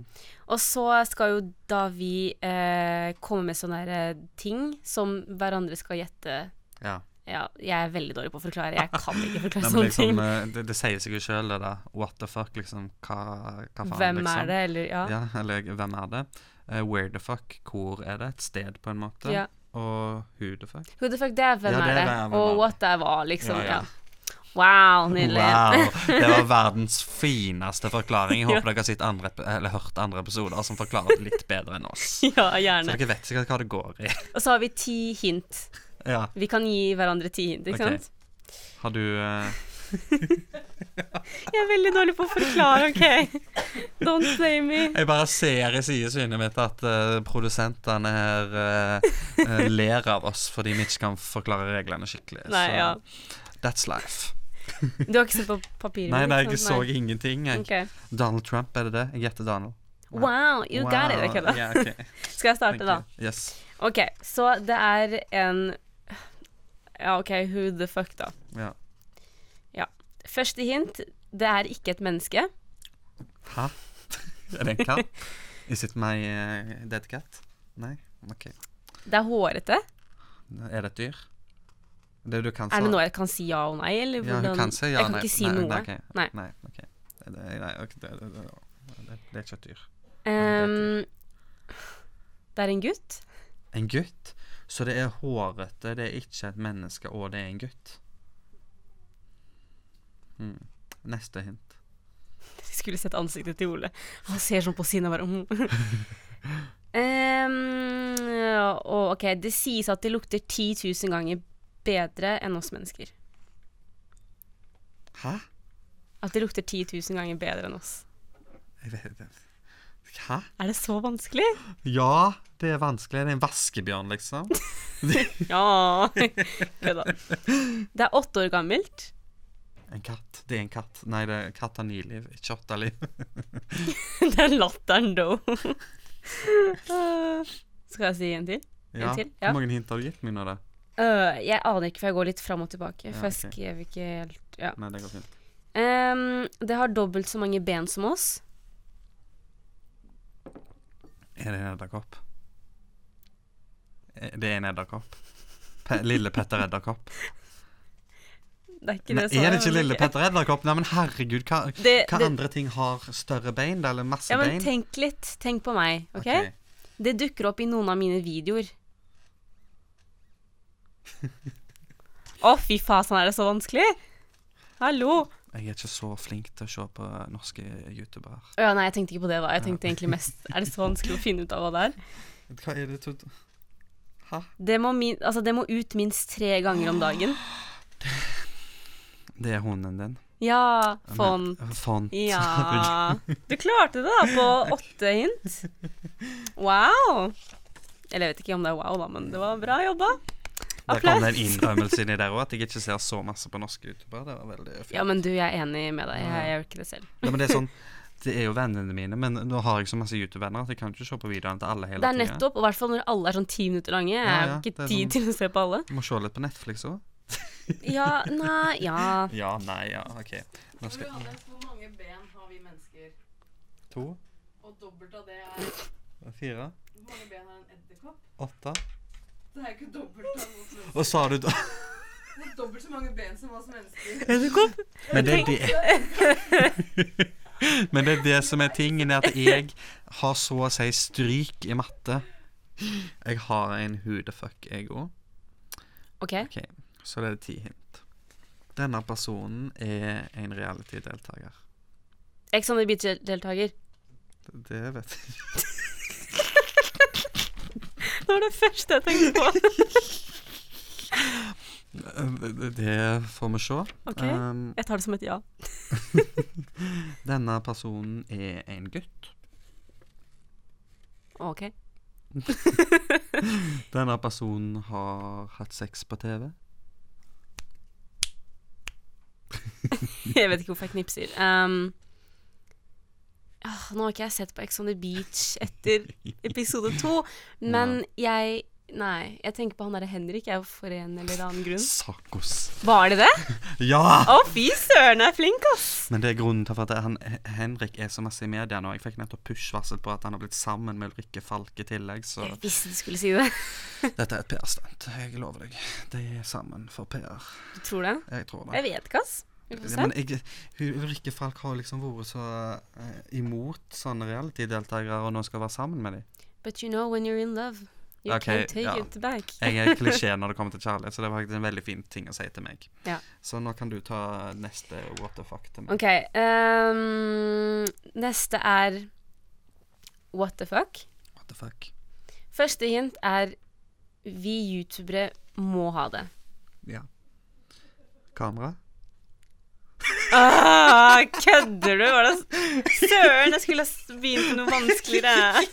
Og så skal jo da vi eh, komme med sånne her, eh, ting som hverandre skal gjette
ja.
[LAUGHS] Ja, jeg er veldig dårlig på å forklare. Jeg kan
[LAUGHS]
ikke
Nei,
forklare
men
sånne
liksom,
ting.
eh, det, det sier seg jo sjøl, det der. What the fuck, liksom. Hva, hva faen,
Hvem
liksom.
er det, eller ja.
Ja, eller hvem er det? Eh, where the fuck, hvor er det? Et sted, på en måte.
Ja.
Og who the fuck?
Who the fuck, det er hvem
Ja, det
er
er
det,
det, hvem er
og
det?
what det er hva, liksom.
Ja, ja.
Ja, Wow, nydelig.
Wow, det var verdens fineste forklaring. Jeg håper dere har sett andre, ep- eller hørt andre episoder som forklarer det litt bedre enn oss.
[LAUGHS] ja,
Så
gjerne.
dere vet sikkert hva det går i.
Og så har vi ti hint.
Ja,
Vi kan gi hverandre ti hint, ikke
Ok.
sant?
har du eh,
Jeg er veldig dårlig på å forklare,
[LAUGHS]
OK? Don't blame me.
Jeg bare ser i sidesynet mitt at eh, produsentene her eh, eh, ler av oss fordi vi ikke kan forklare reglene skikkelig.
Nei,
så
ja.
that's life.
Du har ikke sett på papiret?
Nei,
mitt,
nei,
ikke
jeg så
sant?
ingenting.
Nei.
Jeg.
Ok.
Donald Trump, er det det? Jeg gjetter Donald.
Wow, you got it.
Wow,
ok da.
ja, ok.
Skal jeg
Thank
starte, da?
you. Yes.
OK, så det er en Ja, OK, who the fuck, da?
Ja.
Første hint, det er ikke et menneske.
Hæ? Er det en katt? Is it my eh, dead cat? Nei? OK.
Det er hårete.
Er det et dyr? Det du kan
Er det
svare-
noe jeg kan si ja og nei, eller
Ja,
hvordan?
hun kan si ja.
jeg kan
nei,
ikke si
nei,
noe.
Nei, ok.
Nei.
nei ok. Det, det, nei, ok, det, det, det,
[SIGHS]
det, det er ikke et dyr.
Ehm, det er en gutt. [LAUGHS]
en gutt. Så det er hårete, det er ikke et menneske, og det er en gutt. Mm. Neste hint.
Dere skulle sett ansiktet til Ole. Han ser sånn på siden og bare mm. [LAUGHS] Em, og OK. Det sies at det lukter 10 000 ganger bedre enn oss mennesker.
Hæ?
At det lukter 10 000 ganger bedre enn oss.
Jeg vet ikke. Hæ?
Er det så vanskelig?
Ja, det er vanskelig. Det er en vaskebjørn, liksom.
Ja. [LAUGHS] Kødda. Det er åtte år gammelt.
En katt. Det er en katt. Nei, det er katt har ni liv, ikke åtte liv.
[LAUGHS] Det er latteren, though. [LAUGHS] Skal jeg si en til?
[LAUGHS] Ja.
til, ja.
Hvor mange hint har du gitt meg nå, da?
Øh, jeg aner ikke, for jeg går litt fram og tilbake. For
Ja,
jeg
ok.
skrev ikke helt ja.
Nei, det går fint.
Ehm, Det har dobbelt så mange ben som oss.
Er det en edderkopp? Eh, Det er en edderkopp. Pe lille Petter
[LAUGHS]
Edderkopp.
Det er ikke det svaret,
Nei, er det ikke
men
Lille
ok.
Petter Edderkopp? Nei, men herregud, hva,
Det-
hva
det-
andre ting har større bein? Eller masse
Ja, men
bein?
tenk litt. Tenk på meg, OK?
Ok.
Det dukker opp i noen av mine videoer.
[LAUGHS]
Å, fy faen, er det så vanskelig? Hallo!
Jeg er ikke så flink til å se på norske youtubere.
Å ja, nei, jeg tenkte ikke på det, da. Jeg tenkte egentlig mest Er det så vanskelig å finne ut av hva det er?
Hva er det to Hæ?
Det må, min, altså, det må ut minst tre ganger om dagen.
Det er hunden din.
Ja, fond.
Men- Font. [LAUGHS]
Ja Du klarte det, da, på åtte hint. Wow. Eller jeg vet ikke om det er wow, da, men det var bra jobba.
Der kom det
Applaus.
en innrømmelse inni der òg, at jeg ikke ser så masse på norske youtubere. Det var
[LAUGHS]
veldig fint.
Ja, men du, jeg er enig med deg. Jeg gjør ikke det selv.
Ja, men det er sånn Det er jo vennene mine, men nå har jeg så masse YouTube-venner at jeg kan ikke se på videoene til alle hele
Det er
tiden.
nettopp, og i hvert fall når alle er sånn ti minutter lange. Jeg
Ja,
har
ja, det
ikke
er
tid
sånn-
til å se på alle.
Du må se litt på Netflix òg.
Ja, nei, ja
Ja, nei, ja, OK. Nå skal jeg
Hvor mange ben har vi mennesker?
To,
Og dobbelt av det er Hvor
fire,
mange ben har en edderkopp?
åtte
Det er ikke dobbelt av oss mennesker.
Og så har du
Det er dobbelt så mange ben som oss mennesker.
Edderkopp! Men det er det
[LAUGHS]
Men det er det som er tingen, er at jeg har så å si stryk i matte. Jeg har en hudefuck, jeg òg.
OK.
Ok, så det er ti hint. Denne personen er en reality-deltaker.
Ex on the beach-deltaker.
Det vet jeg.
Det var det første jeg tenkte på.
[LAUGHS] Det- Det får vi se.
Ok.
Um,
Jeg tar det som et ja.
denne personen er en gutt.
OK.
Denne personen har hatt sex på TV.
[LAUGHS] Jeg vet ikke hvorfor jeg knipser. Um, ah, nå har ikke jeg sett på Ex on the Beach etter episode to, men jeg Nei, jeg tenker på han derre Henrik, jeg, for en eller annen grunn.
Sakos.
[LAUGHS] Var det det?
Ja!
Å, fy søren, jeg er flink, ass!
Men det er grunnen til at han, Henrik er så masse i media nå. Jeg fikk nettopp push-varsel på at han har blitt sammen med Ulrikke Falk i tillegg, så
Jeg visste du skulle si det.
dette er et PR-stunt. Jeg lover deg. De er sammen for PR.
Du tror det?
Jeg tror det.
Jeg vet ikke, ass. Vi får
Ja,
se.
men jeg, hun- Ulrikke Falk har liksom vært så eh, imot sånne reality-deltakere og nå skal være sammen med dem.
But you know when you're in love, you
Ok,
can't take
ja.
it back.
Jeg er klisjé når det kommer til kjærlighet, så det var faktisk en veldig fin ting å si til meg.
Ja.
Så nå kan du ta neste what the fuck til meg.
OK. Um, neste er What the fuck?
What the fuck?
Første hint er vi youtubere må ha det.
Ja. Kamera?
Ah, kødder du? Var det s- Søren, jeg skulle ha s- begynt med noe vanskeligere.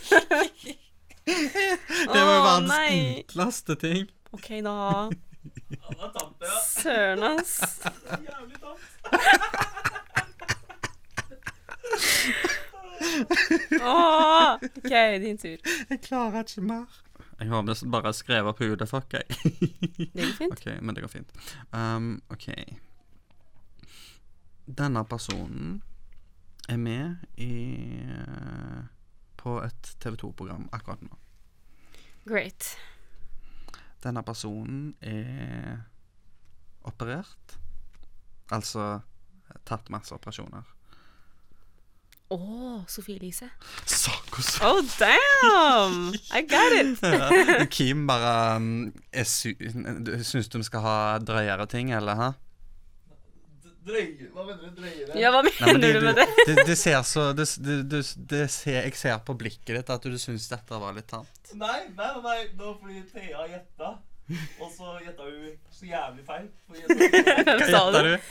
Det var
Å,
verdens
nei.
enkleste ting.
OK, da. Søren, ass. Åh, Ah, OK, din tur.
Jeg klarer ikke mer. Jeg har nesten bare skrevet på hodet, fuck [LAUGHS] jeg.
Det gikk fint.
Ok, men det går fint. Um, ok. Denne personen er med i eh, på et TV 2-program akkurat nå.
Great.
Denne personen er operert. Altså tatt masse operasjoner.
Å, Sophie Elise.
Sak og sak.
Oh, damn! I got it!
Ja. [LAUGHS] Kim bare um, er sy du- Syns du vi skal ha drøyere ting, eller? Hæ?
Drøye, hva mener du drøyere?
Ja, hva
Nei, men
mener du med det?
det, det ser så det, det, det, det ser, Jeg ser på blikket ditt at du syns dette var litt tamt.
Nei, nei, nei, nei, nå fordi Thea gjetta, og så gjetta hun så jævlig feil. For gjetta-
Hvem sa
Hva
det?
du?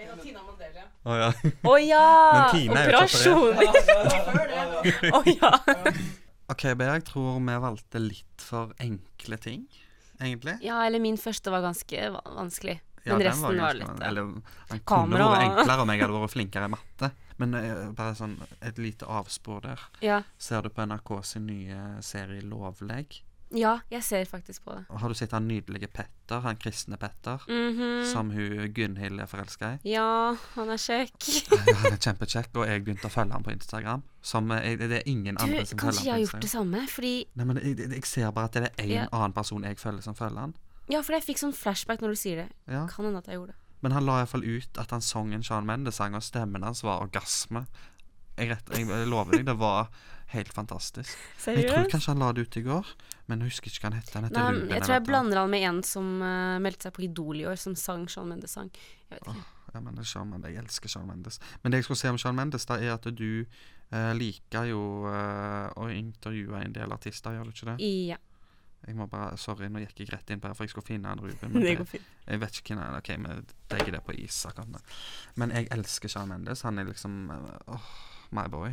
Å ja.
Å
[LAUGHS]
ja!
Men Tina er jo ikke
Operasjon!
Ja, ja, ja, ja.
Å
[LAUGHS]
ja. [LAUGHS]
OK, Bea, jeg tror vi valgte litt for enkle ting, egentlig.
ja, eller min første var ganske va- vanskelig. Men
den
resten var,
ganske-
litt
Eller, den kunne
Kamera
vært
og-
enklere om jeg hadde vært flinkere i matte. Men eh, bare sånn et lite avspor der.
ja.
Ser du på NRK sin nye serie Lovleg?
ja, jeg ser faktisk på det.
Og Har du sett han nydelige Petter, han kristne Petter?
Mhm.
Som hun Gunhild er forelska i.
Ja, han er kjekk.
Han er kjempekjekk, og jeg begynte å følge han på Instagram. Som eh, jeg, det er ingen
Du,
andre som følger
kanskje jeg har
han på
gjort det
Instagram.
samme? Fordi
Nei, men jeg, jeg- jeg ser bare at det er én
Ja.
annen person jeg følger, som følger han.
Ja, for jeg fikk sånn flashback når du sier det.
Ja.
Kan hende at jeg gjorde det.
Men han la iallfall ut at han sangen Sean Mendes sang, og stemmen hans var orgasme. Jeg, rett, jeg lover deg, det var helt fantastisk. Jeg tror kanskje han la det ut i går, men jeg husker ikke hva han het. Han heter
Nei,
Ruben,
jeg tror jeg
eller et eller annet.
blander han med en som eh, meldte seg på Idol i år, som sang Sean Mendes-sang. Jeg vet ikke.
Ja, men det er Shawn Mendes. Jeg elsker Shawn Mendes. Men det jeg skulle si om Shawn Mendes, da er at du eh, liker jo eh, å intervjue en del artister, gjør du ikke det?
Ja,
Jeg må bare, Sorry, nå gikk jeg rett inn på her, for jeg skulle finne en Ruben. Men
[LAUGHS] [LAUGHS] det
det,
går fint.
jeg vet ikke hvem han er. OK, vi legger det på is akkurat nå. Men jeg elsker Shawn Mendes. Han er liksom eh, åh, my boy.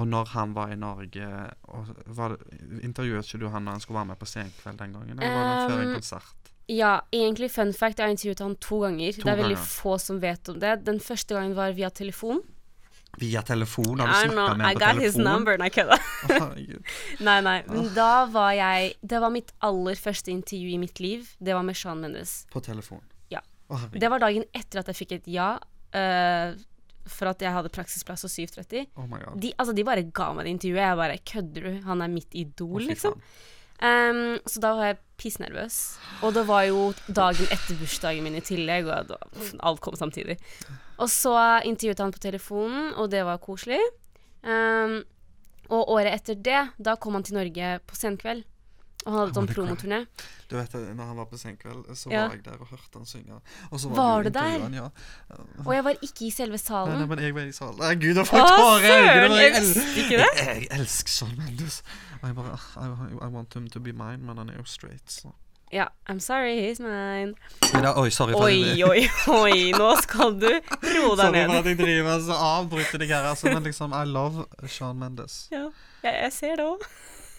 Og når han var i Norge og var, det- Intervjuet ikke du han når han skulle være med på Senkveld den gangen? Eller var det før en
Um,
konsert?
Ja, egentlig fun fact, jeg har intervjuet han to ganger.
To
det er veldig
ganger.
få som vet om det. Den første gangen var via telefon.
Via telefon? Har
I
du
don't know,
snakka med
I
ham på
got his
telefon?
number, nei, kødda.
Herregud.
Nei, nei. Men da var jeg Det var mitt aller første intervju i mitt liv. Det var med Sean Mendes.
[LAUGHS] På telefon.
Ja.
Å, herregud.
Det var dagen etter at jeg fikk et ja eh, for at jeg hadde praksisplass hos 730.
Oh my god.
De, altså, de bare ga meg det intervjuet. Jeg bare Kødder du? Han er mitt
Å,
idol,
fy
liksom.
faen.
Ehm, så da var jeg pissnervøs. Og det var jo dagen etter bursdagen min i tillegg, og da, pff, alt kom samtidig. Og så intervjuet han på telefonen, og det var koselig. Ehm, og året etter det, da kom han til Norge på senkveld. Og han hadde
Oh
sånn
my God.
promoturné.
Du vet, det, når han var på Senkveld, eh, så
Ja.
var jeg der og hørte han synge. Og så
Var
du
du der?
intervjueren, Ja.
Og jeg var ikke i selve
Nei, nei,
salen.
men jeg var i salen. Nei, gud, jeg
Å,
får tårer i øynene,
søren!
men
Jeg
Jeg,
visste
el-
ikke det.
jeg, jeg elsker Shawn Mendes. Og jeg bare ah, I, I want him to be mine, men han er jo straight, så
Ja, I'm sorry, he's mine.
Men da, Oi, sorry for, at,
Oi,
jeg-
oi, oi, nå skal
[LAUGHS]
du roe deg
sorry for
ned.
at jeg driver så avbryter deg her, altså. Men liksom, I love Shawn Mendes.
Ja, jeg, jeg ser det òg.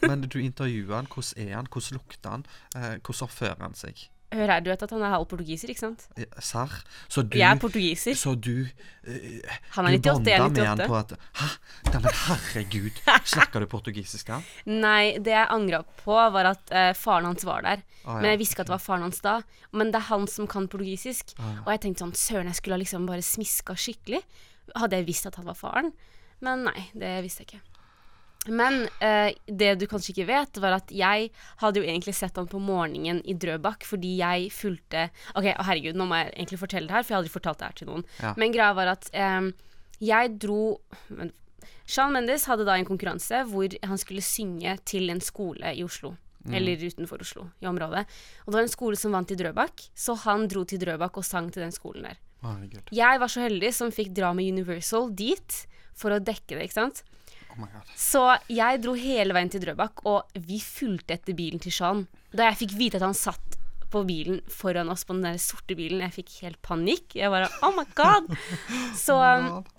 Men du intervjuer han, hvordan er han, hvordan lukter han, eh, hvordan oppfører han seg?
Hør her, du vet at han er halv portugiser, ikke sant?
Eh, Serr? Så du
Jeg er portugiser.
Så du eh,
Han er
Du
98, jeg er
bondet med han
98.
på at Hæ? Nei, men herregud, snakker du portugisisk da?
Nei, det jeg angra på, var at eh, faren hans var der.
Ah, ja,
Men jeg visste ikke at det var faren hans da. Men det er han som kan portugisisk.
Ah, ja.
Og jeg tenkte sånn Søren, jeg skulle ha liksom bare smiska skikkelig. Hadde jeg visst at han var faren? Men nei, det visste jeg ikke. Men eh, det du kanskje ikke vet, var at jeg hadde jo egentlig sett han på morgenen i Drøbak, fordi jeg fulgte Ok, å herregud, nå må jeg egentlig fortelle det her, for jeg har aldri fortalt det her til noen.
Ja.
Men greia var at eh, jeg dro men, Shawn Mendes hadde da en konkurranse hvor han skulle synge til en skole i Oslo. Eller utenfor Oslo, i området. Og det var en skole som vant i Drøbak, så han dro til Drøbak og sang til den skolen der.
Herregud.
Jeg var så heldig som fikk dra med Universal dit for å dekke det, ikke sant.
Oh my god.
Så jeg dro hele veien til Drøbak, og vi fulgte etter bilen til Sean. Da jeg fikk vite at han satt på bilen foran oss på den der sorte bilen, jeg fikk helt panikk. Jeg bare oh my god. Så um,
Oh God.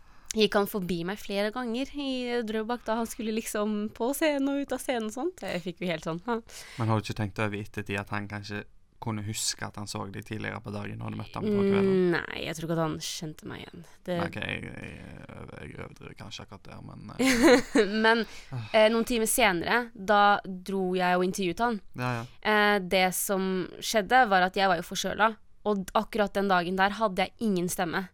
gikk han forbi meg flere ganger i eh, Drøbak da han skulle liksom på scenen og ut av scenen og sånt. Jeg fikk jo helt sånn «Hæ?»
Men har du ikke tenkt over i ettertid at han kanskje kunne huske at han så deg tidligere på dagen når du møtte ham på kvelden?
Mm, Nei, jeg tror ikke at han skjønte meg igjen. Det,
Ok, jeg, jeg, jeg overdriver kanskje akkurat der, men eh,
[LAUGHS] [LAUGHS] Men eh, noen timer senere, da dro jeg og intervjuet han.
ja, ja.
Eh, det som skjedde, var at jeg var jo forkjøla. Og d- akkurat den dagen der hadde jeg ingen stemme.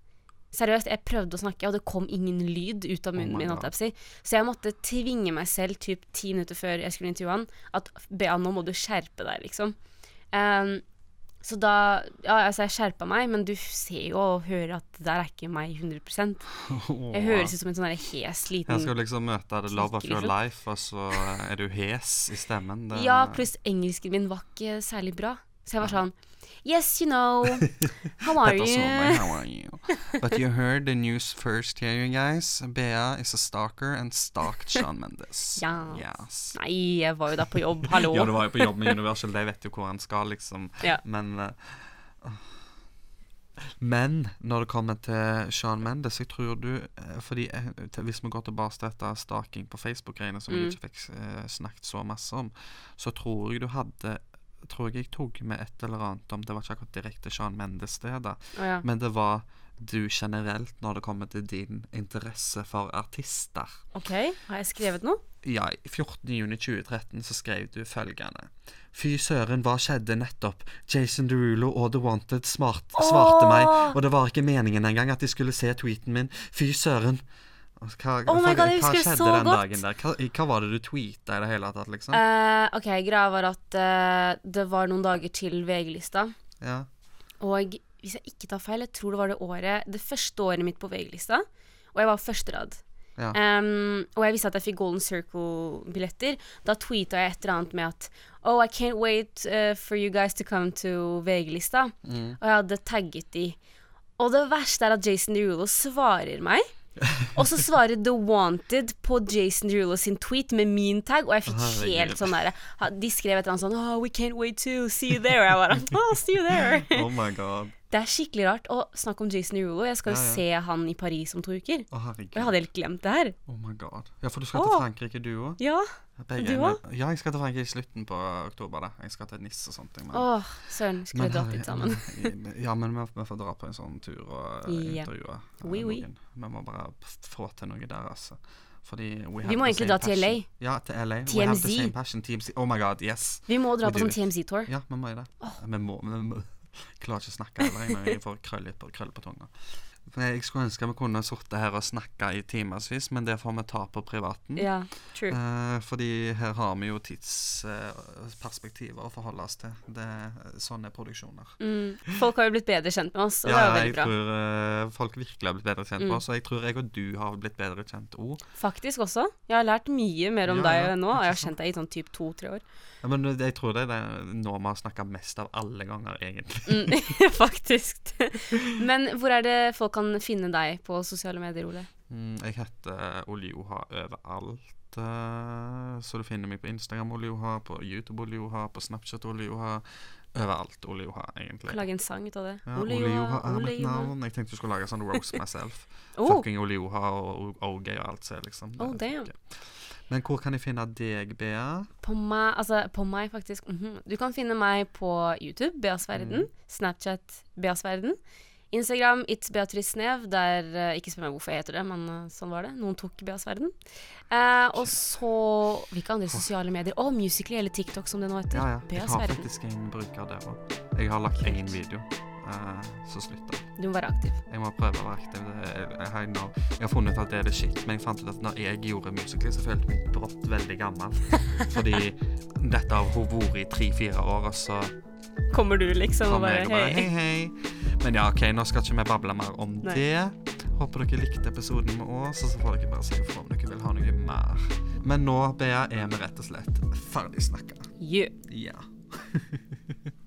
Seriøst, jeg prøvde å snakke, og det kom ingen lyd ut av
Oh
munnen
my
min.
God.
holdt jeg på å Si. Så jeg måtte tvinge meg selv typ ti minutter før jeg skulle intervjue han, at Bea, nå må du skjerpe deg, liksom. Ehm, Så da Ja, altså, jeg skjerpa meg, men du ser jo og hører at det der er ikke meg 100 Jeg høres ut som en sånn der hes
Jeg
liten
skal liksom møte The Love of Your
Snikgriffen.
Life, og så er du hes i stemmen. Det,
Ja, pluss engelsken min var ikke særlig bra. Så jeg var sånn Yes, you know. How are
Petter
you?
Solberg, how
[LAUGHS]
are you? But you heard the news first here, you guys. Bea is a stalker and stalked Sean Mendes.
[LAUGHS] Ja.
Yes.
Nei, jeg var jo da på jobb. Hallo.
[LAUGHS] Ja, du var jo på jobb med Universal, de vet jo hvor han skal, liksom.
Ja.
Men eh, Men når det kommer til Sean Mendes, jeg tror du eh, Fordi eh, til- hvis vi går tilbake til dette staking på Facebook-greiene, som vi
Mm.
ikke fikk eh, snakket så masse om, så tror jeg du hadde Tror jeg jeg tok med et eller annet om Det var ikke akkurat direkte Sean Mendes, det, da.
Å, ja.
Men det var du generelt når det kommer til din interesse for artister.
OK, har jeg skrevet noe?
Ja, 14.6.2013 så skrev du følgende. Fy søren, hva skjedde nettopp? Jason Derulo og The Wanted smart, svarte meg, og det var ikke meningen engang at de skulle se tweeten min. Fy søren. Altså, Hva,
Oh my
for-
God, jeg
hva
husker det
skjedde
så
den
godt.
dagen der? Hva, hva var det du tweeta i det hele tatt, liksom?
Eh, OK, greia var at eh, det var noen dager til VG-lista.
ja.
Og hvis jeg ikke tar feil, jeg tror det var det året Det første året mitt på VG-lista. Og jeg var førsterad.
Ja.
Um, og jeg visste at jeg fikk Golden Circle-billetter. Da tweeta jeg et eller annet med at Oh, I can't wait uh, for you guys to come to VG-lista.
Mm.
Og jeg hadde tagget de. Og det verste er at Jason Derulo svarer meg. Og så svarer The Wanted på Jason Derulo sin tweet med min tag, og jeg fikk
Herregud.
helt sånn derre De skrev et eller annet sånn Oh, we can't wait to see you there. Og jeg bare Oh, see you
[LAUGHS]
there.
Oh my god.
Det er skikkelig rart. Og snakk om Jason Derulo. Jeg skal jo
Ja, ja.
se han i Paris om to uker.
Å,
Og jeg hadde
herregud.
helt glemt det her.
Oh my god. Ja, for du skal til
Å.
Frankrike, du òg?
Ja. Du òg?
Ja, jeg skal til Frankrike i slutten på oktober. da. Jeg skal til Nis og sånt. Men...
Åh, søren. Skulle
Men
vi dratt
herre-
dit sammen?
men- ja, men vi, vi får dra på en sånn tur og eh,
Ja.
intervjue eh,
Oui, oui.
noen. Vi må bare p- få til noe der, altså. Fordi we
Vi må egentlig dra til LA.
Ja, til LA. We have the
TMZ.
same passion. TMZ. Oh my god, yes.
Vi må dra på
We do
sånn
it.
TMZ-tour.
Ja, vi må jo det. Vi må, vi må. [LAUGHS] Klarer ikke å snakke heller, jeg, når jeg får krøll litt på, krøll på tunga. Men Jeg skulle ønske vi kunne sittet her og snakka i timevis, men det får vi ta på privaten.
Ja, true.
Eh, fordi her har vi jo tidsperspektiver å forholde oss til. Det, sånn er produksjoner.
Mm. Folk har jo blitt bedre kjent med oss, og det
Ja,
er jo
jeg
veldig bra. Mm.
tror eh, folk virkelig har blitt bedre kjent med oss. Og jeg tror jeg og du har blitt bedre kjent òg.
Faktisk også. Jeg har lært mye mer om
Ja,
deg
ja,
nå, og jeg
ikke
har
sant.
kjent deg i sånn typ to-tre år.
Ja, men eh, jeg tror det er det nå vi har snakka mest av alle ganger, egentlig.
[LAUGHS] Mm, Faktisk. Men hvor er det folk kan finne deg på sosiale medier, Ole?
Mm, jeg heter Oljoha overalt. eh, Så du finner meg på Instagram Oljoha, på YouTube Oljoha, på Snapchat Oljoha. Overalt Oljoha,
Kan
egentlig.
lage en sang ut av det.
Ja, Oljoha er mitt navn. Jeg tenkte du skulle lage sånn Roast Myself.
[LAUGHS] Oh,
Fucking Oljoha og OG og alt det, liksom. Det
Oh, damn.
funker. Men hvor kan jeg finne deg, Bea?
På meg, altså på meg faktisk mhm. Du kan finne meg på YouTube, Beas Verden. Snapchat, Beas Verden. Instagram, It's Beatrice Snev. Der, eh, ikke spør meg hvorfor jeg heter det, men eh, sånn var det. Noen tok Beas Verden. Eh, og så Hvilke andre sosiale medier? Å, Musically eller TikTok, som det nå heter.
Ja, ja. Jeg
Beas
har
Verden.
faktisk en bruker der òg. Jeg har lagt én video, eh, så slutta jeg.
Du må være aktiv.
Jeg må prøve å være aktiv. Det er- I know. Jeg har funnet ut at det er det shit, men jeg fant ut at når jeg gjorde Musical.ly, så følte jeg meg brått veldig
[LAUGHS]
gammel. Fordi dette har hun vært i tre-fire år, og så
Kommer du, liksom, og
kom
bare
jeg og bare
hei.
hei, hei. Men ja, OK, nå skal ikke vi bable mer om
Nei.
det. Håper dere likte episoden med oss, og så får dere bare si ifra om dere vil ha noe mer. [LAUGHS] Men nå, Bea, er vi rett og slett ferdig snakka.
Yeah.
Ja.